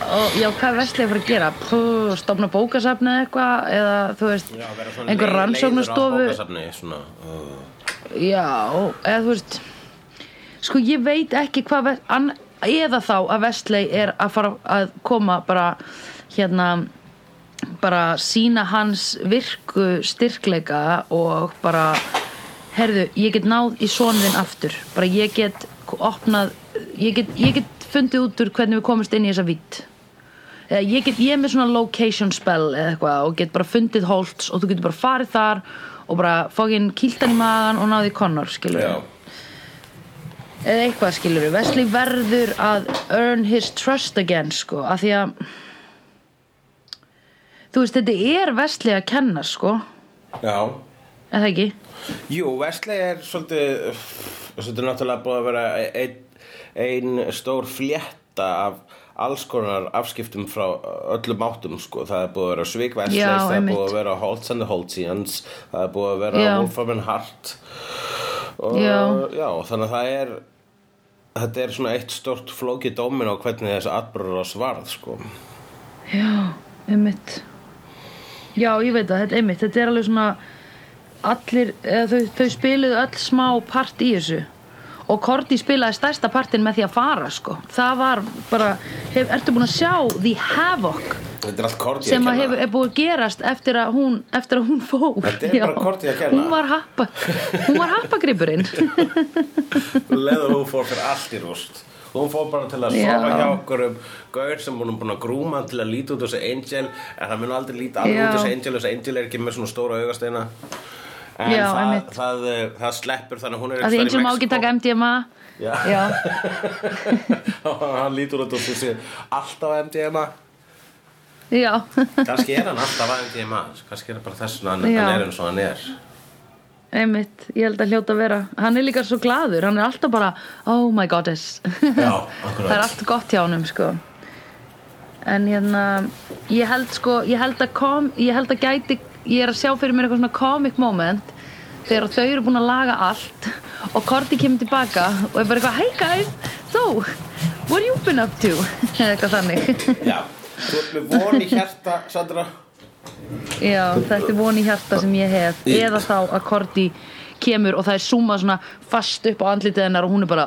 Speaker 1: og, já, hvað er vestlið að fara að gera? Pú, stofna bókasafni eða eitthvað eða þú veist,
Speaker 2: Já, vera svona
Speaker 1: einhver
Speaker 2: leið-
Speaker 1: rannsóknastofu
Speaker 2: leiður á bókasafni, svona, uh,
Speaker 1: já, eða þú veist sko ég veit ekki hvað Ves- ann- eða þá að vestlið er að fara að koma bara hérna bara sína hans virku styrkleika og bara herðu, ég get náð í sonin aftur bara ég get opnað ég get, ég get fundið út úr hvernig við komumst inn í þessa vitt eða ég get, ég er með svona location spell eða eitthvað og get bara fundið holds og þú getur bara farið þar og bara fókin kýltan í magan og náði Connor skilur
Speaker 2: Já,
Speaker 1: eða eitthvað skilur við Wesley verður að earn his trust again sko af því að þú veist þetta er Wesley að kenna sko
Speaker 2: já
Speaker 1: eða ekki
Speaker 2: Jú, Wesley er svolítið svolítið náttúrulega búið að vera ein, ein stór flétta af alls konar afskiptum frá öllum áttum sko. það er búið að vera Svig Wesley
Speaker 1: Já,
Speaker 2: það er
Speaker 1: einmitt.
Speaker 2: búið að vera Holtz and the Holtzians það er búið að vera
Speaker 1: Já.
Speaker 2: Wolfram and Hart og,
Speaker 1: Já.
Speaker 2: já, þannig að það er þetta er svona eitt stórt flókið dómin á hvernig þessi atbyrður á svarð sko.
Speaker 1: já, einmitt já, ég veit það, þetta, einmitt þetta er alveg svona allir, eða, þau, þau spiluðu öll smá part í þessu og Korti spilaði stærsta partin með því að fara sko það var bara, hef, ertu búin að sjá The Havoc
Speaker 2: Þetta er allt hérna. kortið
Speaker 1: sem að hefur, er búið að gerast eftir að hún, eftir að hún fór
Speaker 2: Þetta er bara Korti að kenna.
Speaker 1: hún var, happa, hún var happagripurinn
Speaker 2: Leður hún fór fyrir allt í rúst Hún fór bara til að
Speaker 1: Já.
Speaker 2: sofa hjá okkur um Gaur sem hún er búin að grúma til að líta út þessi Angel En það mun aldrei líta alveg
Speaker 1: Já.
Speaker 2: út þessi Angel Þessi Angel er ekki með svona stóra augasteina En
Speaker 1: Já,
Speaker 2: það,
Speaker 1: einmitt.
Speaker 2: það, það, eh, það sleppur þannig að hún
Speaker 1: að
Speaker 2: er
Speaker 1: því
Speaker 2: einhvers
Speaker 1: eins og má
Speaker 2: staðar
Speaker 1: ekki
Speaker 2: í Mexíkó.
Speaker 1: taka MDMA
Speaker 2: Já.
Speaker 1: Já.
Speaker 2: Hann lítur út og þú sér alltaf MDMA
Speaker 1: Já.
Speaker 2: Kannski er hann alltaf að MDMA Kannski er hann bara þess að hann
Speaker 1: Já.
Speaker 2: hann er eins og hann er
Speaker 1: einmitt, ég held að hljóta að vera hann er líka svo glaður, hann er alltaf bara oh my goddess
Speaker 2: Já,
Speaker 1: það er
Speaker 2: akkurat
Speaker 1: allt gott hjá honum sko en hérna ég held sko, ég held að kom ég held að gæti, ég er að sjá fyrir mér eitthvað svona comic moment þegar þau eru búin að laga allt og Korti kemur tilbaka og er bara eitthvað hey guys, so what have you been up to eða eitthvað þannig
Speaker 2: Já, þú ert með von í hjarta, Sandra
Speaker 1: já, þetta er von í hjarta sem ég hef eða þá að Korti kemur og það er súma svona fast upp á andlitið hennar og hún er bara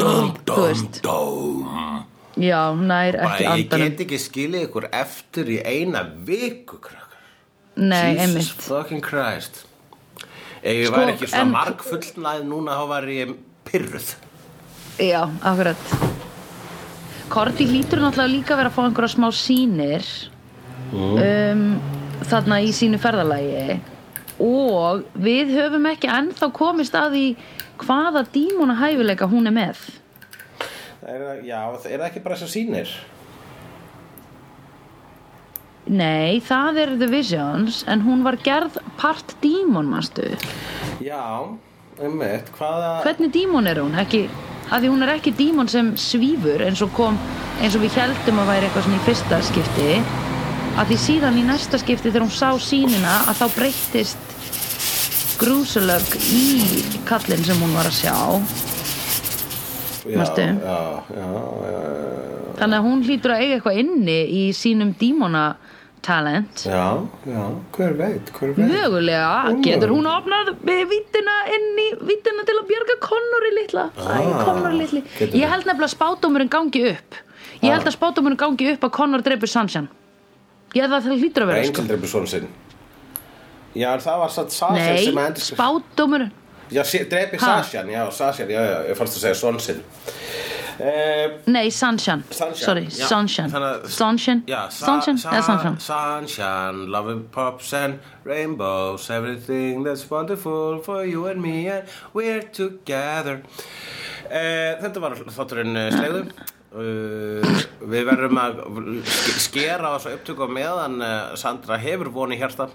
Speaker 1: dum, þú veist,
Speaker 2: dum
Speaker 1: já, nær ekki
Speaker 2: Ég
Speaker 1: andanum
Speaker 2: get ekki skilið ykkur eftir í eina viku krakkar.
Speaker 1: nei,
Speaker 2: Jesus
Speaker 1: einmitt
Speaker 2: fucking Christ Ef ég
Speaker 1: Sko,
Speaker 2: væri ekki svona
Speaker 1: en-
Speaker 2: marg fullnæð núna þá væri ég pyrruð
Speaker 1: Já, akkurat Korti hlýtur náttúrulega líka að vera að fá einhverja smá sýnir um, þarna í sínu ferðalagi og við höfum ekki ennþá komist að því hvaða dímona hæfileika hún er með
Speaker 2: Það er, Já, það er það ekki bara þess að sýnir
Speaker 1: Nei, það er The Visions en hún var gerð part dímon manstu.
Speaker 2: Já, einmitt, hvaða
Speaker 1: Hvernig dímon er hún? Ekki, að því hún er ekki dímon sem svífur eins og kom eins og við heldum að væri eitthvað svona í fyrsta skipti að því síðan í næsta skipti þegar hún sá sínina að þá breyttist grúsulög í kallinn sem hún var að sjá
Speaker 2: já,
Speaker 1: Manstu?
Speaker 2: já, já, já, já.
Speaker 1: þannig að hún hlýtur að eiga eitthvað inni í sínum dímona talent
Speaker 2: Já, já, hver veit, hver veit
Speaker 1: mögulega
Speaker 2: Mögulega.
Speaker 1: getur hún opnað vittina inn í vittina til að bjarga Connory litla Æ,
Speaker 2: Ah,
Speaker 1: Connory litli
Speaker 2: getur Ah.
Speaker 1: ég
Speaker 2: verið.
Speaker 1: held nefnilega að spátumurinn gangi upp ég held að spátumurinn gangi upp að Connor dreipur Sansjan ég held að það hlýtur að vera sko.
Speaker 2: Angel dreipur svona sinn Já, en það var satt Sasjan sem
Speaker 1: nei,
Speaker 2: að endur
Speaker 1: spátumurinn
Speaker 2: Já, sé- dreipi
Speaker 1: Ha?
Speaker 2: Sasjan, já, Sasjan, já, já, ég fannst að segja svona sinn uh,
Speaker 1: Nei, Sunshine,
Speaker 2: Sunshine,
Speaker 1: Sorry,
Speaker 2: já.
Speaker 1: Sunshine
Speaker 2: Þannig að-
Speaker 1: Sunshine,
Speaker 2: Já,
Speaker 1: Sunshine eða Sunshine
Speaker 2: Sunshine, loving pops and rainbows Everything that's wonderful for you and me and we're together uh, Þetta var þátturinn uh, slegðu uh, Við verðum að ske- skera á þessu upptöku á meðan uh, Sandra hefur voni hjarta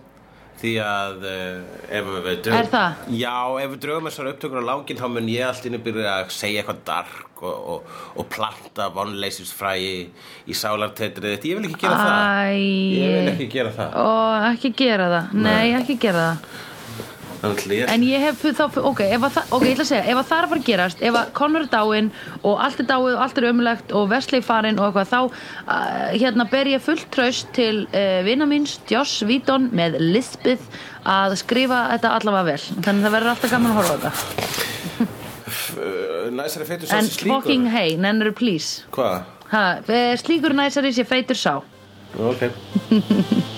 Speaker 2: Því að uh, ef við
Speaker 1: Er það?
Speaker 2: Já, ef við drögum þessar upptökur á lágin þá mun ég allt inni byrja að segja eitthvað dark og, og, og planta vonleysisfræi í, í sálartetrið þitt. Ég vil ekki gera það. Ég vil
Speaker 1: Æ,
Speaker 2: ekki gera það.
Speaker 1: og ekki gera það Nei, ekki gera það
Speaker 2: Þannig að ég...
Speaker 1: En ég hef þá, ok, ef að það, ok, ég ætla að segja, ef að það er að fara að gerast, ef að Connor er dáinn og allt er dáið og allt er ömulegt og Wesley farinn og eitthvað, þá uh, hérna ber ég fullt traust til uh, vina míns, Josh Víton með Lisbeth að skrifa þetta allavega vel. Þannig að það verður alltaf gaman að horfa á þetta.
Speaker 2: Uh, Næsari feitur sá
Speaker 1: En
Speaker 2: sem slíkur.
Speaker 1: fucking hey, nennur please.
Speaker 2: Hvað?
Speaker 1: Ha, eh, slíkur næsari sé feitur sá.
Speaker 2: Ok.